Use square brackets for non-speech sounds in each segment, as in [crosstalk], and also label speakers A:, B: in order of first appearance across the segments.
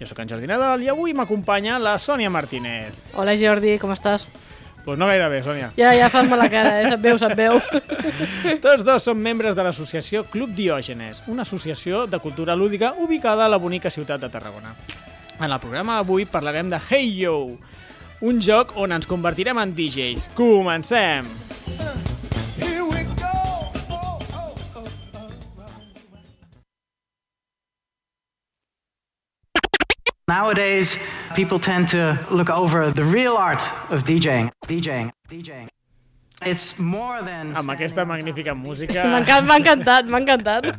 A: Jo sóc en Jordi Nadal i avui m'acompanya la Sònia Martínez.
B: Hola Jordi, com estàs?
A: Pues no gaire bé, Sònia.
B: Ja, ja fas mala cara, eh? Se't veu, se't veu.
A: Tots dos són membres de l'associació Club Diògenes, una associació de cultura lúdica ubicada a la bonica ciutat de Tarragona. En el programa d'avui parlarem de Hey Yo, un joc on ens convertirem en DJs. Comencem!
C: Here we go. Oh, oh, oh, oh, oh.
D: Nowadays, people tend to look over the real art of DJing. DJing. DJing. It's more than.
A: Amb aquesta magnífica música...
B: M'enca- M'ha encantat, m'ha encantat.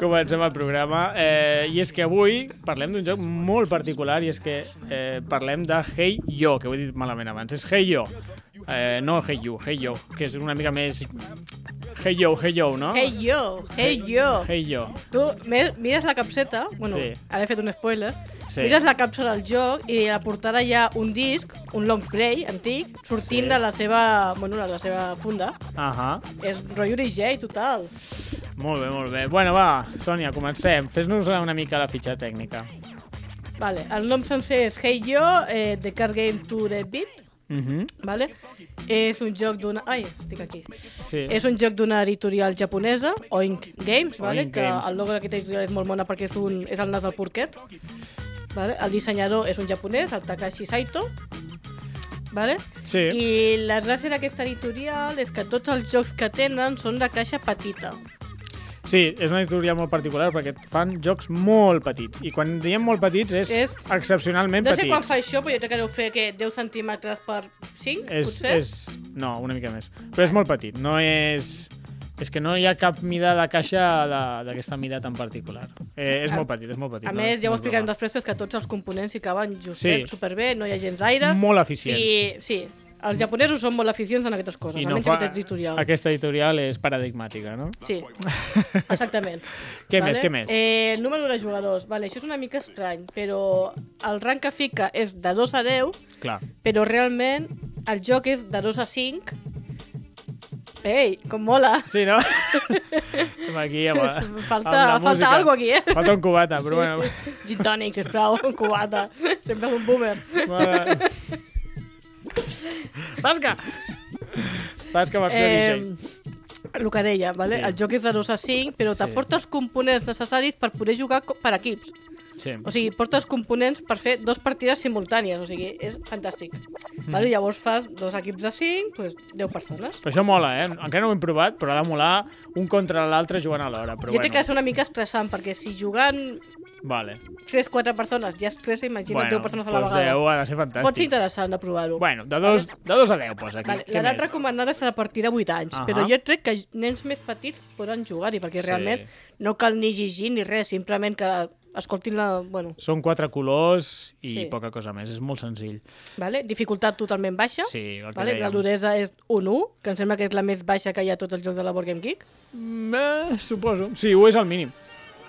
A: Comencem el programa eh, i és que avui parlem d'un joc molt particular i és que eh, parlem de Hey Yo, que ho he dit malament abans, és Hey Yo, eh, no Hey You, Hey Yo, que és una mica més Hey Yo, Hey Yo, no?
B: Hey yo, hey yo.
A: Hey Yo.
B: Tu me- mires la capseta, bueno,
A: Sí.
B: ara he fet un spoiler,
A: Sí.
B: mires la capsa del joc i a la portada hi ha un disc, un long play antic, sortint
A: Sí.
B: de la seva, bueno, de la seva funda.
A: Ahà,
B: És rotllo DJ, total.
A: molt bé, molt bé. Bueno, va, Sònia, comencem. Fes-nos una mica la fitxa tècnica.
B: Vale, el nom sencer és Hey Yo, eh, The Card Game to the Beat,
A: Uh -huh.
B: vale? És un joc d'una... Ai, estic aquí.
A: Sí.
B: És un joc d'una editorial japonesa, Oink Games, vale?
A: Oink
B: que
A: Games.
B: el logo d'aquesta editorial és molt mona perquè és, un, és el nas del porquet. Vale? El dissenyador és un japonès, el Takashi Saito. Vale?
A: Sí.
B: I la gràcia d'aquesta editorial és que tots els jocs que tenen són de caixa petita.
A: Sí, és una editorial molt particular perquè fan jocs molt petits. I quan diem molt petits és,
B: És-
A: excepcionalment
B: No
A: petit.
B: sé quan fa això, però jo crec que deu fer que 10 centímetres per 5,
A: és,
B: potser.
A: és... No, una mica més. Però és molt petit, no és... És que no hi ha cap mida de caixa de- d'aquesta mida tan particular. Eh, és
B: A-
A: molt petit, és molt petit.
B: A
A: no
B: més,
A: és-
B: ja ho
A: no és
B: explicarem
A: broma.
B: després, però és que tots els components hi caben justet,
A: Sí.
B: superbé, no hi ha gens d'aire.
A: Molt eficients.
B: Sí, sí. Els japonesos són molt eficients en aquestes coses, almenys en aquest editorial.
A: Aquesta editorial és paradigmàtica, no?
B: Sí, exactament.
A: [laughs] Què més, què més?
B: Eh, número de jugadors. Vale, això és una mica estrany, però el rang que fica és de 2 a 10,
A: Clar.
B: però realment el joc és de 2 a 5. Ei, com mola! [laughs]
A: Sí, no? Estem aquí amb, la-
B: Falta-
A: amb la
B: falta
A: música.
B: algo aquí, eh?
A: Falta un cubata, però sí, bueno...
B: Gin tònic, sisplau, un cubata. Sempre és un boomer.
A: Mare... Tasca! Tasca versió eh... DJ.
B: el que deia, vale?
A: Sí.
B: el joc és de 2 a 5, però t'aporta els components necessaris per poder jugar co- per equips.
A: Sí.
B: O sigui, portes components per fer dos partides simultànies, o sigui, és fantàstic.
A: Hmm.
B: Mm. Vale? Llavors fas dos equips de 5, doncs 10 persones.
A: Però això mola, eh? Encara no ho hem provat, però ha de molar un contra l'altre jugant alhora. Però
B: jo
A: bueno,
B: crec que és una mica estressant, perquè si jugant
A: Vale.
B: 3-4 persones ja estressa, imagina't bueno, 10 persones a la
A: doncs
B: vegada.
A: 10 ha de ser fantàstic.
B: Pot ser interessant de provar-ho.
A: Bueno, de dos, de dos a 10 posa aquí.
B: Vale,
A: Què
B: L'edat
A: més?
B: recomanada és a partir de 8 anys,
A: Ahà.
B: però jo crec que nens més petits poden jugar-hi, perquè
A: Sí.
B: realment no cal ni llegir ni res, simplement que escoltin la... Bueno,
A: Són quatre colors i
B: Sí.
A: poca cosa més. És molt senzill.
B: vale? dificultat totalment baixa.
A: Sí, el que
B: vale? La
A: dèiem.
B: duresa és un 1, que em sembla que és la més baixa que hi ha a tots els jocs de la Board Game Geek.
A: Mm, eh, suposo. Sí, ho és al mínim.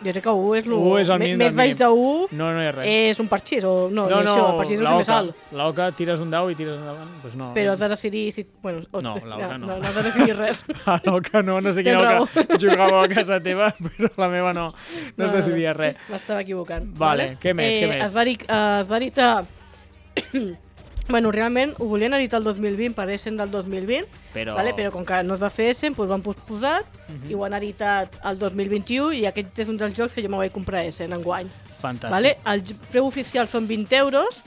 B: Jo crec que 1 és, lo...
A: U és el mínim
B: més
A: del
B: baix de 1
A: No, no hi ha res.
B: és un parxís, o no,
A: no,
B: ni
A: no,
B: això, el parxís és
A: la
B: el més
A: oca.
B: alt.
A: La oca, tires un dau i tires endavant. Pues no. [laughs]
B: Però has de decidir si... Bueno, o-
A: No, la oca no.
B: No, no has de
A: [laughs]
B: decidir res.
A: A Ah, l'oca no, no sé
B: Tens
A: quina [laughs] oca jugava a casa teva, [laughs] però la meva no. No, es decidia res.
B: eh, M'estava equivocant.
A: Vale, què més,
B: eh,
A: què més?
B: Es va, edic- eh, es va editar... [coughs] bueno, realment ho volien editar el 2020 per Essen del 2020,
A: Però- Mhm.
B: vale? però com que no es va fer Essen, doncs ho han posposat i ho han editat el 2021 i aquest és un dels jocs que jo me vaig comprar a Essen enguany.
A: Fantàstic.
B: Vale? El j- preu oficial són 20 euros,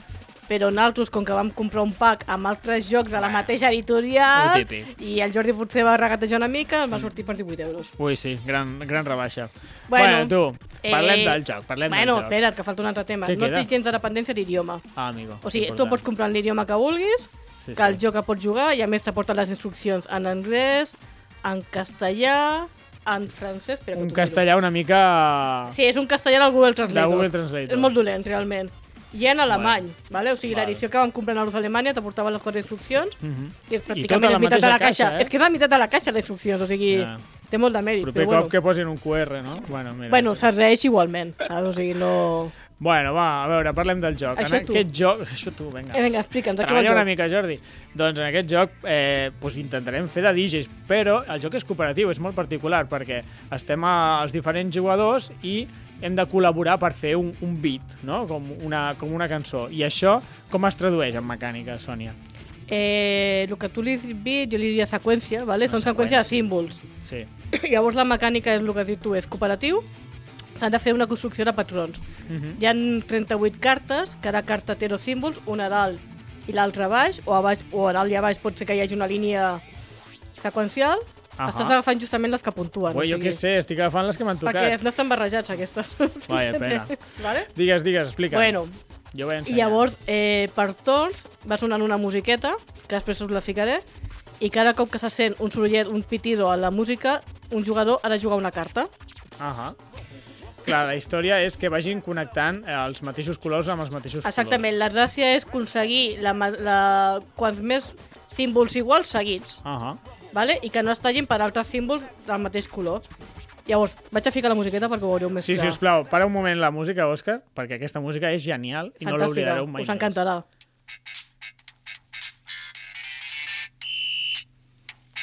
B: però nosaltres, com que vam comprar un pack amb altres jocs de la mateixa
A: el
B: editorial,
A: típic.
B: i el Jordi potser va regatejar una mica, em va sortir per 18 euros.
A: Ui, sí, gran, gran rebaixa.
B: Bueno, eh,
A: bueno tu, parlem del joc, parlem
B: bueno,
A: del joc.
B: espera't, que falta un altre tema.
A: Què
B: no
A: queda?
B: té gens de dependència d'idioma.
A: Ah, amigo.
B: O sigui, tu
A: important.
B: pots comprar en l'idioma que vulguis,
A: Sí,
B: sí, que el
A: sí.
B: joc que pots jugar, i a més t'aporten les instruccions en anglès, en castellà, en francès. Espera, que
A: Un
B: t'ho miro.
A: castellà una mica...
B: Sí, és un castellà del Google Translator.
A: Del Google Translator.
B: És molt dolent, realment. I en alemany, vale. o sigui, l'edició que vam comprar nosaltres a Alemanya t'aportava les quatre instruccions
A: Mhm.
B: i és
A: tota
B: pràcticament
A: la
B: la meitat de la
A: mateixa
B: caixa.
A: caixa, eh?
B: És que és la meitat de la caixa, les instruccions, o sigui,
A: Ja.
B: té molt de mèrit.
A: Proper
B: Però bueno,
A: cop que posin un QR, no? Bueno, mira,
B: bueno
A: sí.
B: serveix igualment, saps? O sigui, no...
A: bueno, va, a veure, parlem del joc.
B: Això
A: en
B: tu.
A: aquest joc... [laughs] Això tu, vinga.
B: Eh, vinga, explica'ns, aquí va el
A: Treballa una
B: joc.
A: mica, Jordi. Doncs en aquest joc eh, doncs intentarem fer de DJs, però el joc és cooperatiu, és molt particular, perquè estem a, els diferents jugadors i hem de col·laborar per fer un, un beat, no? com, una, com una cançó. I això com es tradueix en mecànica, Sònia?
B: Eh, el que tu li has dit, jo li diria seqüència, vale?
A: Una
B: són seqüència
A: seqüència.
B: de símbols. [clears throat]
A: Sí.
B: Llavors la mecànica és el que has dit tu, és cooperatiu, s'han de fer una construcció de patrons.
A: Mhm.
B: Hi han 38 cartes, cada carta té dos símbols, un a dalt i l'altre a baix, o a baix o a dalt i a baix pot ser que hi hagi una línia seqüencial.
A: Ahà.
B: Estàs agafant justament les que puntuen.
A: Ui, jo què sé, estic agafant les que m'han
B: Perquè
A: tocat.
B: no estan barrejats, aquestes.
A: Vaja pena.
B: [laughs] Vale?
A: Digues, digues, explica.
B: Bueno,
A: jo vaig
B: i
A: ensenyar.
B: llavors, eh, per torns, va sonant una musiqueta, que després us la ficaré, i cada cop que se sent un sorollet, un pitido a la música, un jugador ha de jugar una carta.
A: Ahà. Clar, la història és que vagin connectant eh, els mateixos colors amb els mateixos
B: Exactament, la gràcia és aconseguir la, ma- la, quants més símbols iguals
A: colors.
B: seguits,
A: Exactament.
B: vale? i que no es tallin per altres símbols del mateix color. Llavors, vaig a ficar la musiqueta perquè ho veureu més
A: Sí, si
B: clar.
A: us plau, para un moment la música, Òscar, perquè aquesta música és genial i no
B: Fantàstica,
A: l'oblidareu mai
B: us encantarà.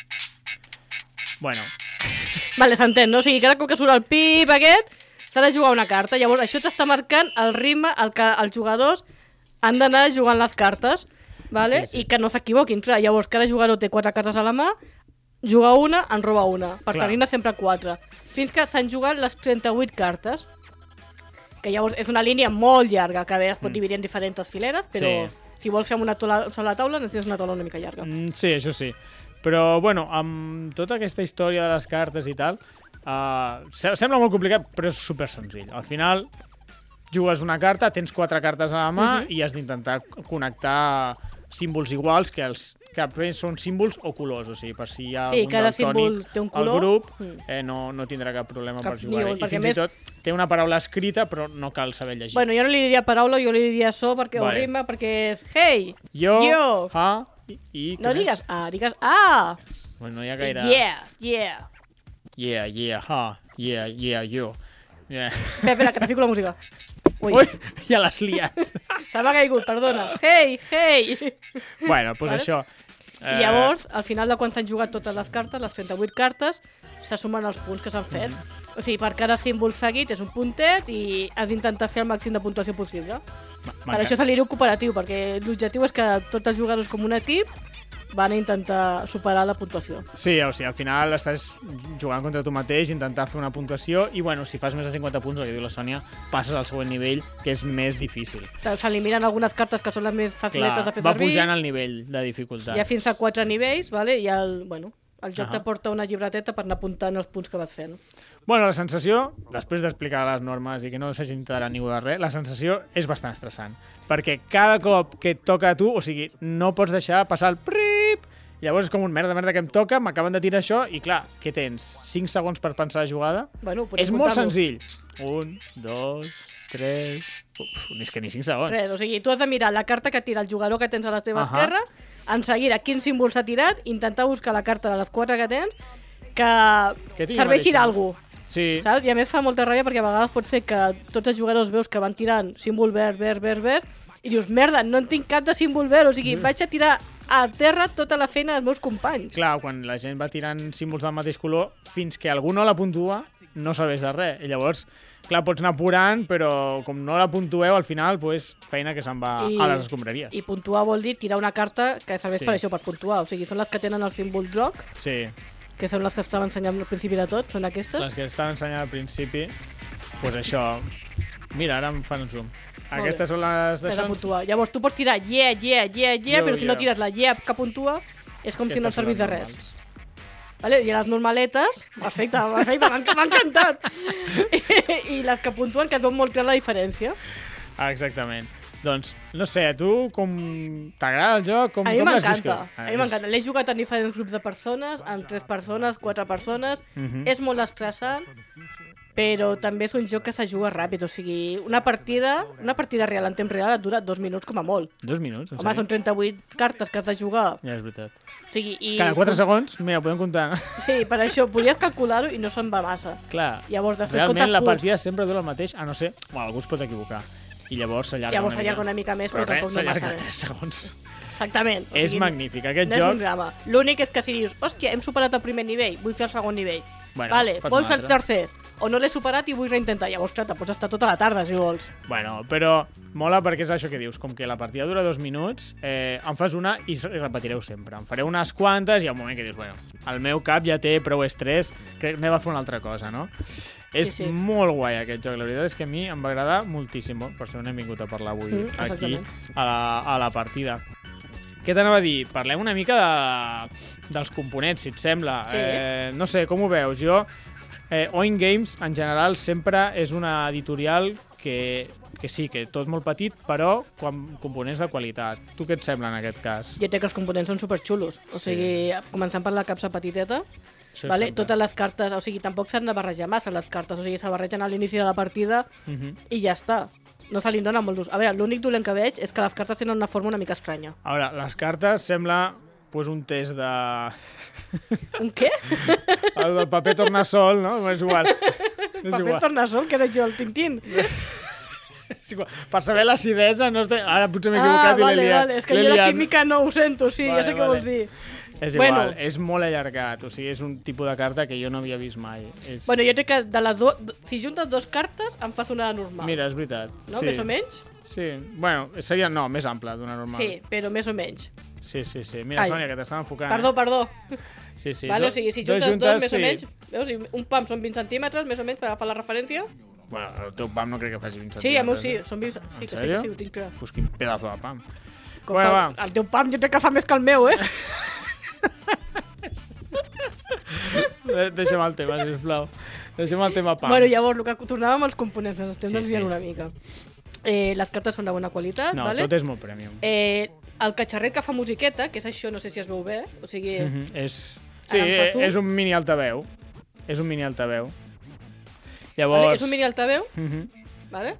A: Més. Bueno,
B: Vale, s'entén, no? O sigui, cada cop que surt el pip aquest, s'ha de jugar una carta. Llavors, això t'està marcant el ritme al que els jugadors han d'anar jugant les cartes, vale?
A: Sí, sí.
B: i que no s'equivoquin. Clar, Llavors, cada jugador té quatre cartes a la mà, juga una, en roba una. Per
A: Clar.
B: tant, n'hi ha sempre quatre. Fins que s'han jugat les 38 cartes, que llavors és una línia molt llarga, que a veure, es pot dividir en diferents fileres, però
A: Mm. Sí.
B: si vols fer amb una taula, sola taula, necessites una taula una mica llarga.
A: mm, sí, això sí. Però, bueno, amb tota aquesta història de les cartes i tal, uh, sembla molt complicat, però és super senzill. Al final, jugues una carta, tens quatre cartes a la mà
B: Mhm.
A: i has d'intentar connectar símbols iguals que els que bé són símbols o colors, o sigui, per si hi ha
B: Sí,
A: algun
B: cada
A: daltònic
B: símbol té
A: al
B: un color.
A: grup,
B: Mm.
A: eh, no, no tindrà cap problema
B: Cap
A: per jugar.
B: nivell,
A: I
B: perquè
A: fins
B: més-
A: i tot té una paraula escrita, però no cal saber llegir.
B: Bueno, jo no li diria paraula, jo li diria so, perquè vale.
A: Vale.
B: ho rima, perquè és hey,
A: jo,
B: jo.
A: ah, i, i
B: No
A: què més?
B: digues ah, digues ah,
A: Bueno, no hi ha gaire...
B: yeah, yeah.
A: Yeah, yeah, ha, yeah, yeah, yo. Yeah.
B: Espera, espera, que trafico la música. Ui,
A: Ui, [laughs] ja l'has liat.
B: se m'ha caigut, perdona. Hey, hey!
A: bueno, doncs
B: Vale.
A: això. Eh,
B: I llavors, al final de quan s'han jugat totes les cartes, les 38 cartes, se sumen els punts que s'han fet.
A: Mm-hmm.
B: O sigui, per cada símbol seguit és un puntet i has d'intentar fer el màxim de puntuació possible. Per això se li diu cooperatiu, perquè l'objectiu és que tots els jugadors com un equip van a intentar superar la puntuació.
A: Sí, o sigui, al final estàs jugant contra tu mateix, intentar fer una puntuació, i bueno, si fas més de 50 punts, el que diu la Sònia, passes al següent nivell, que és més difícil.
B: S'eliminen algunes cartes que són les més faciletes de fer
A: va
B: servir.
A: pujant el nivell de dificultat.
B: Hi ha fins a quatre nivells, vale? i el, bueno, el joc
A: Ahà.
B: t'aporta una llibreteta per anar apuntant els punts que vas fent.
A: Bueno, la sensació, després d'explicar les normes i que no s'hagi enterat ningú de res, la sensació és bastant estressant. Perquè cada cop que et toca a tu, o sigui, no pots deixar passar el prip, llavors és com un merda, merda que em toca, m'acaben de tirar això i clar, què tens? 5 segons per pensar la jugada?
B: Bueno, podem
A: és molt
B: comptar-lo.
A: senzill. Un, dos, tres... Uf, és que ni 5 segons.
B: Res, o sigui, tu has de mirar la carta que tira el jugador que tens a la teva
A: doncs. Ahà.
B: esquerra, en seguida quin símbol s'ha tirat, intentar buscar la carta de les quatre que tens, que,
A: Que tingui
B: serveixi
A: mateixa.
B: d'algú.
A: Sí,
B: Saps? I a més fa molta ràbia perquè a vegades pot ser que tots els jugadors veus que van tirant símbol verd, verd, verd, verd, i dius, merda, no en tinc cap de símbol verd, o sigui,
A: Mm.
B: vaig a tirar a terra tota la feina dels meus companys.
A: clar, quan la gent va tirant símbols del mateix color, fins que algú no la puntua, no serveix de res. I llavors, clar, pots anar apurant, però com no la puntueu, al final, pues, feina que se'n va I... a les escombraries. I...
B: I puntuar vol dir tirar una carta que serveix
A: Sí.
B: sí. per això, per puntuar. O sigui, són les que tenen el símbol groc,
A: Sí,
B: que són les que estava ensenyant al principi de tot, són aquestes.
A: les que estava ensenyant al principi, pues això... Mira, ara em fan un zoom. Aquestes són les
B: que has de
A: d'això.
B: puntuar. Llavors tu pots tirar yeah, yeah, yeah, yeah,
A: Yo,
B: però si no
A: yeah.
B: tires la yeah que puntua, és com si no
A: Aquestes
B: et servís de
A: són les
B: res.
A: normals.
B: Vale? I les normaletes, perfecte, perfecte, m'han- m'ha encantat. I, I les que puntuen, que et veu molt clar la diferència.
A: Ah, Exactament. Doncs, no sé, a tu com t'agrada el joc? Com,
B: A mi
A: com l'has
B: m'encanta,
A: viscut?
B: a mi m'encanta. L'he jugat en diferents grups de persones, amb tres persones, quatre persones.
A: Mhm.
B: És molt estressant, però també és un joc que se juga ràpid, o sigui, una partida, una partida real en temps real et dura dos minuts com a molt.
A: Dos minuts, en
B: Home,
A: sèrio?
B: són 38 cartes que has de jugar.
A: Ja, és veritat.
B: O sigui, i...
A: Cada 4 segons, mira, podem comptar.
B: Sí, per això, volies calcular-ho i no se'n va massa.
A: Clar,
B: Llavors, després
A: realment
B: comptes
A: la
B: punts.
A: partida sempre dura el mateix, a no ser... Bueno, algú es pot equivocar. I llavors s'allarga
B: Llavors
A: una mica.
B: s'allarga una mica més, però,
A: Però
B: tampoc
A: res,
B: no massa
A: s'allarga
B: bé.
A: 3 segons.
B: Exactament. O
A: És
B: sigui,
A: magnífic, aquest
B: no
A: joc.
B: és un drama. L'únic és que si dius, hòstia, hem superat el primer nivell, vull fer el segon nivell.
A: Bueno,
B: vale,
A: fas
B: vols
A: un
B: fer el
A: altre.
B: tercer, o no l'he superat i vull reintentar. Llavors, clar, te pots estar tota la tarda, si vols.
A: Bueno, però mola perquè és això que dius, com que la partida dura dos minuts, eh, en fas una i s- i repetireu sempre. En fareu unes quantes i al moment que dius, bueno, el meu cap ja té prou estrès, crec que anem a fer una altra cosa, no? És
B: sí.
A: molt guai aquest joc, la veritat és que a mi em va agradar moltíssim, Bueno, per això n'hem vingut a parlar avui
B: Mm,
A: aquí
B: exactament.
A: a la, a la partida. Què t'anava a dir? Parlem una mica de, dels components, si et sembla.
B: Sí.
A: Eh, no sé, com ho veus? Jo, eh, Oin Games, en general, sempre és una editorial que, que sí, que tot molt petit, però quan components de qualitat. Tu què et sembla en aquest cas?
B: Jo crec que els components són superxulos. O
A: Sí.
B: sigui, començant per la capsa petiteta,
A: Això
B: vale?
A: sempre.
B: tota totes les cartes, o sigui, tampoc s'han de barrejar massa les cartes, o sigui, se barregen a l'inici de la partida
A: Mhm.
B: i ja està. No se li dona molt d'ús. A veure, l'únic dolent que veig és que les cartes tenen una forma una mica estranya.
A: A veure, les cartes sembla pues, un test de...
B: Un què?
A: El del paper tornassol, no? Però És
B: [laughs]
A: igual. [laughs] És
B: Paper
A: igual.
B: tornassol, que era jo, el
A: [laughs]
B: Tintín.
A: És igual. Per saber l'acidesa, no estic... ara potser m'he
B: Ah,
A: equivocat i l'he
B: vale,
A: liat.
B: vale, és que
A: L'he
B: jo la
A: liat.
B: química no ho sento, sí,
A: Vale,
B: ja sé què
A: vale.
B: vols dir.
A: És igual,
B: Bueno.
A: bueno. és molt allargat, o sigui, és un tipus de carta que jo no havia vist mai. És...
B: Bueno, jo crec que de les do... si juntes dues cartes em fas una normal,
A: Mira, és veritat.
B: no?
A: sí.
B: Més o menys?
A: Sí, bueno, seria, no, més ample d'una normal.
B: Sí, però més o menys.
A: Sí, sí, sí. Mira,
B: Ai.
A: Sònia, que t'estava enfocant.
B: Perdó, perdó.
A: Eh? Sí, sí.
B: vale,
A: do-
B: o sigui, si
A: dos
B: juntes, dos més o menys, veus, i un pam són 20 centímetres, més o menys, per agafar la referència.
A: Bueno, el teu pam no crec que faci 20
B: Sí, el meu sí,
A: centímetres,
B: són 20...
A: eh?
B: Sí,
A: En
B: que sí, que
A: sèrio?
B: sí, ho tinc clar.
A: Pues quin pedazo de pam.
B: Que
A: Bueno,
B: fa...
A: va.
B: El teu pam jo crec que fa més que el meu, eh?
A: De- Deixa'm el tema, sisplau. Deixa'm el tema pam.
B: Bueno, llavors, el que tornàvem als components, ens estem
A: Sí,
B: sí, desviant
A: sí.
B: una mica. Eh, les cartes són de bona qualitat,
A: No,
B: vale?
A: tot és molt premium.
B: Eh, el catxarret que fa musiqueta, que és això, no sé si es veu bé, o sigui...
A: Mhm, És... Sí,
B: Ara em fas un.
A: és un mini altaveu. És un mini altaveu. Llavors...
B: Vale, és un mini altaveu,
A: Mhm.
B: vale?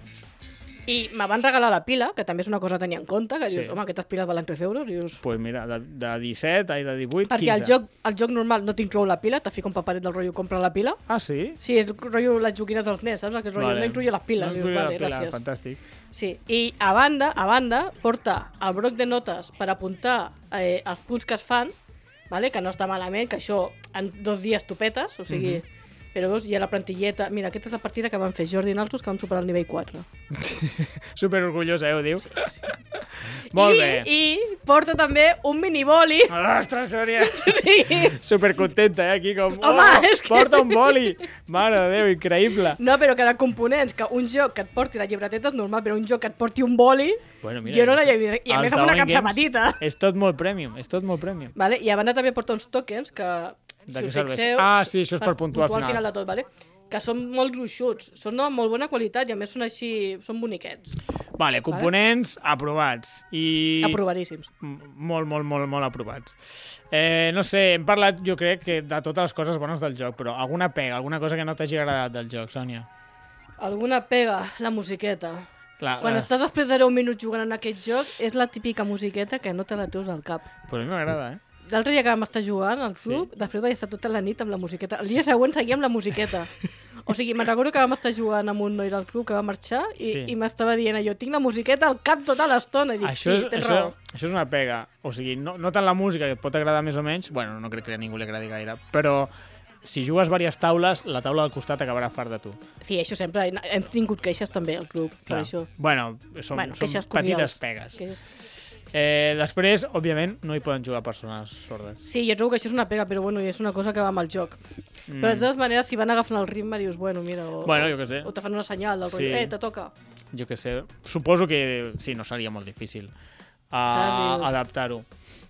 B: i me van regalar la pila, que també és una cosa a tenir en compte, que dius,
A: Sí.
B: home, aquestes piles valen 3 euros, dius...
A: pues mira, de, de 17, ai, de 18,
B: Perquè
A: 15.
B: el joc, el joc normal no t'inclou la pila, te fica un paperet del rotllo compra la pila.
A: Ah, sí?
B: Sí, és rotllo les joguines dels nens, saps? Aquest rotllo, no incluye les piles.
A: No
B: dius,
A: incluye
B: vale,
A: les piles,
B: gràcies.
A: fantàstic.
B: Sí, i a banda, a banda, porta el bloc de notes per apuntar eh, els punts que es fan, vale? que no està malament, que això en dos dies topetes, o
A: Mhm.
B: sigui... Però veus, hi ha la plantilleta... Mira, aquesta és la partida que van fer Jordi i Naltos, que vam superar el nivell 4.
A: Super orgullosa, eh, ho diu. [laughs] Molt
B: I,
A: bé. Ah.
B: I porta també un miniboli.
A: Ostres, Sònia!
B: [laughs] Sí.
A: Super contenta, eh, aquí com...
B: Home, és que-
A: Porta un boli! Mare de Déu, increïble!
B: No, però que de components, que un joc que et porti la llibreteta és normal, però un joc que et porti un boli...
A: Bueno,
B: jo no l'havia vist. I a més amb una capsa petita.
A: És tot molt premium, és tot molt premium.
B: Vale? I a banda també porta uns tòquens que...
A: De què
B: si us
A: serveix?
B: fixeu,
A: Ah, sí, això és per puntuar al
B: al
A: final.
B: final de tot, vale? que són molt gruixuts, són de molt bona qualitat i a més són així, són boniquets,
A: Vale, components aprovats. I...
B: aprovadíssims.
A: M- molt, molt, molt, molt aprovats. Eh, no sé, hem parlat, jo crec, que de totes les coses bones del joc, però alguna pega, alguna cosa que no t'hagi agradat del joc, Sònia?
B: Alguna pega, la musiqueta.
A: Clar,
B: Quan
A: eh,
B: estàs després de 10 minuts jugant en aquest joc, és la típica musiqueta que no te la treus al cap.
A: Pues a mi m'agrada, eh?
B: L'altre dia que vam estar jugant al club, sí. després vaig estar tota la nit amb la musiqueta. El dia següent seguia amb la musiqueta. O sigui, me'n recordo que vam estar jugant amb un noi del club que va marxar i, sí.
A: Sí.
B: i m'estava dient allò, tinc la musiqueta al cap tota l'estona. I dic,
A: Això,
B: sí,
A: és,
B: tens
A: això,
B: raó.
A: això és una pega. O sigui, no, no tant la música, que et pot agradar més o menys, bueno, no crec que a ningú li agradi gaire, però si jugues diverses taules, la taula del costat acabarà fart de tu.
B: Sí, això sempre. Hem tingut queixes també al club, Clar. per això.
A: Bueno, són, bueno,
B: Bueno,
A: són
B: queixes
A: petites
B: cordials.
A: pegues.
B: Queixes...
A: Eh, després, òbviament, no hi poden jugar persones sordes.
B: Sí, jo trobo que això és una pega, però bueno, és una cosa que va amb el joc. Mm. Però de totes maneres, si van agafant el ritme, dius, bueno, mira, o,
A: Bueno, jo què sé.
B: o te fan una senyal del
A: Sí.
B: rotllo, eh, te toca.
A: Jo que sé, suposo que sí, no seria molt difícil. a
B: Saps?
A: adaptar-ho.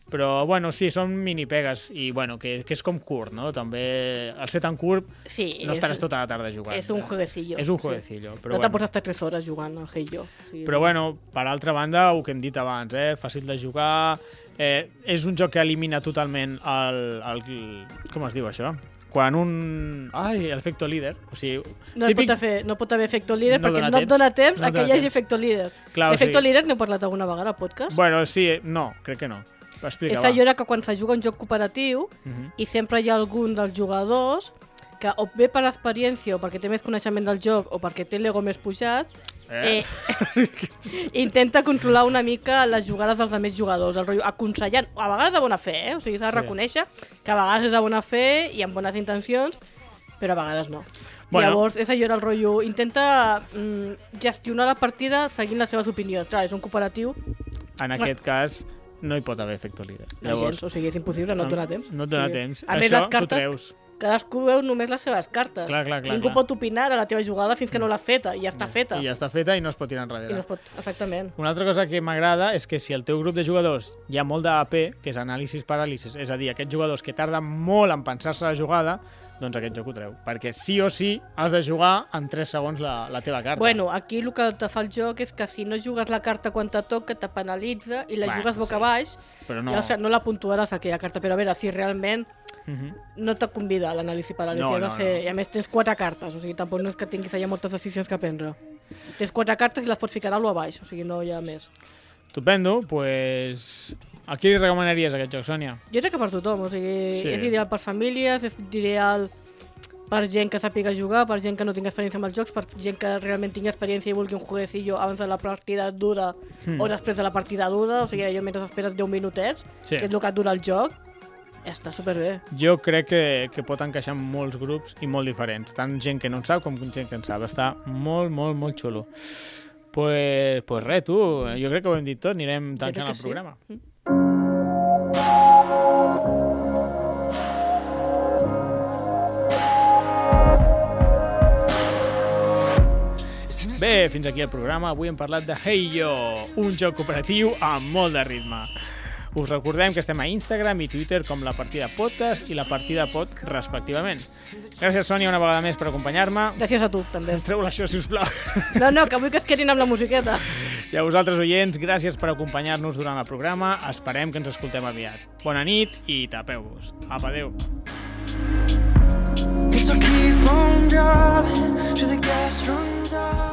A: Però, bueno, sí, són minipegues i, bueno, que, que és com curt, no? També, al ser tan curt,
B: Sí,
A: no estaràs tota la tarda jugant.
B: És un jueguecillo.
A: És un
B: sí.
A: jueguecillo. Sí. Però,
B: no
A: no
B: te
A: bueno.
B: pots estar 3 hores jugant al Heyo. Sí.
A: però, bueno, per altra banda, el que hem dit abans, eh? Fàcil de jugar... Eh, és un joc que elimina totalment el, el... Com es diu això? Quan un... Ai, l'efecte líder. O sigui,
B: no, típic... pot fer, no pot haver efecto líder
A: No
B: perquè
A: dona
B: no et
A: temps.
B: dona temps
A: No
B: a que
A: dona
B: hi hagi
A: temps.
B: efecto líder.
A: Clar, o
B: Efecto
A: sigui-
B: líder n'he parlat alguna vegada al podcast.
A: Bueno, sí, eh, no, crec que no. Explica,
B: és
A: va.
B: allò era que quan se juga un joc cooperatiu
A: Mhm.
B: i sempre hi ha algun dels jugadors que o bé per experiència o perquè té més coneixement del joc o perquè té l'ego més pujat
A: Eh?
B: eh. [laughs] intenta controlar una mica les jugades dels altres jugadors, el rotllo aconsellant, a vegades de bona fe, eh? o sigui, s'ha de
A: Sí.
B: reconèixer que a vegades és de bona fe i amb bones intencions, però a vegades no.
A: Bueno.
B: Bueno. Llavors, és allò era el rotllo, intenta mm, gestionar la partida seguint les seves opinions. Clar, és un cooperatiu,
A: En aquest cas, no hi pot haver efecte líder.
B: no gens, o sigui, és impossible, no et dona temps.
A: No et dona
B: Sí.
A: temps.
B: A
A: Això
B: més, les
A: Ho
B: cartes,
A: treus.
B: cadascú veu només les seves cartes.
A: Clar, clar, clar,
B: Ningú
A: clar.
B: pot opinar a la teva jugada fins que no l'ha feta, i ja està feta.
A: I ja està feta i no es pot tirar
B: I no
A: enrere.
B: es pot, exactament.
A: Una altra cosa que m'agrada és que si el teu grup de jugadors hi ha molt d'AP, que és anàlisis paràlisis, és a dir, aquests jugadors que tarden molt en pensar-se la jugada, doncs aquest joc ho treu. Perquè sí o sí has de jugar en 3 segons la, la teva carta.
B: Bueno, aquí el que te fa el joc és que si no jugues la carta quan te toca, te penalitza i
A: Bueno,
B: la bueno, jugues
A: sí.
B: boca sí. baix,
A: Però no...
B: no. I, o sigui, no la puntuaràs aquella carta. Però a veure, si realment
A: Uh -huh.
B: no te convida a l'anàlisi paràlisi,
A: No,
B: ha de
A: no,
B: ser...
A: no.
B: I a més tens quatre cartes, o sigui, tampoc no és que tinguis allà moltes decisions que prendre. Tens quatre cartes i les pots ficar a lo a baix, o sigui, no hi ha més.
A: Estupendo, doncs... Pues... A qui li recomanaries aquest joc, Sònia?
B: Jo crec que per tothom, o sigui,
A: Sí.
B: sí. és ideal per famílies, és ideal per gent que sàpiga jugar, per gent que no tingui experiència amb els jocs, per gent que realment tingui experiència i vulgui un jueguecillo abans de la partida dura
A: Hmm.
B: hmm. o després de la partida dura, o sigui, allò mentre esperes 10 minutets,
A: Sí.
B: sí. que és el que et dura el joc, està superbé.
A: Jo crec que, que pot encaixar en molts grups i molt diferents. Tant gent que no en sap com gent que en sap. Està molt, molt, molt xulo. Pues, pues res, tu, jo crec que ho hem dit tot, anirem
B: crec
A: tancant
B: que
A: el
B: sí.
A: programa. Sí. Bé, fins aquí el programa. Avui hem parlat de Heyo, un joc cooperatiu amb molt de ritme. Us recordem que estem a Instagram i Twitter com la partida podcast i la partida pod respectivament. Gràcies, Sònia, una vegada més per acompanyar-me.
B: Gràcies a tu, també.
A: Treu-la això, si us plau.
B: No, no, que vull que es quedin amb la musiqueta.
A: [laughs] I a vosaltres, oients, gràcies per acompanyar-nos durant el programa. Esperem que ens escoltem aviat. Bona nit i tapeu-vos. Apa, adeu.
C: Guess I'll keep on driving till the gas runs out.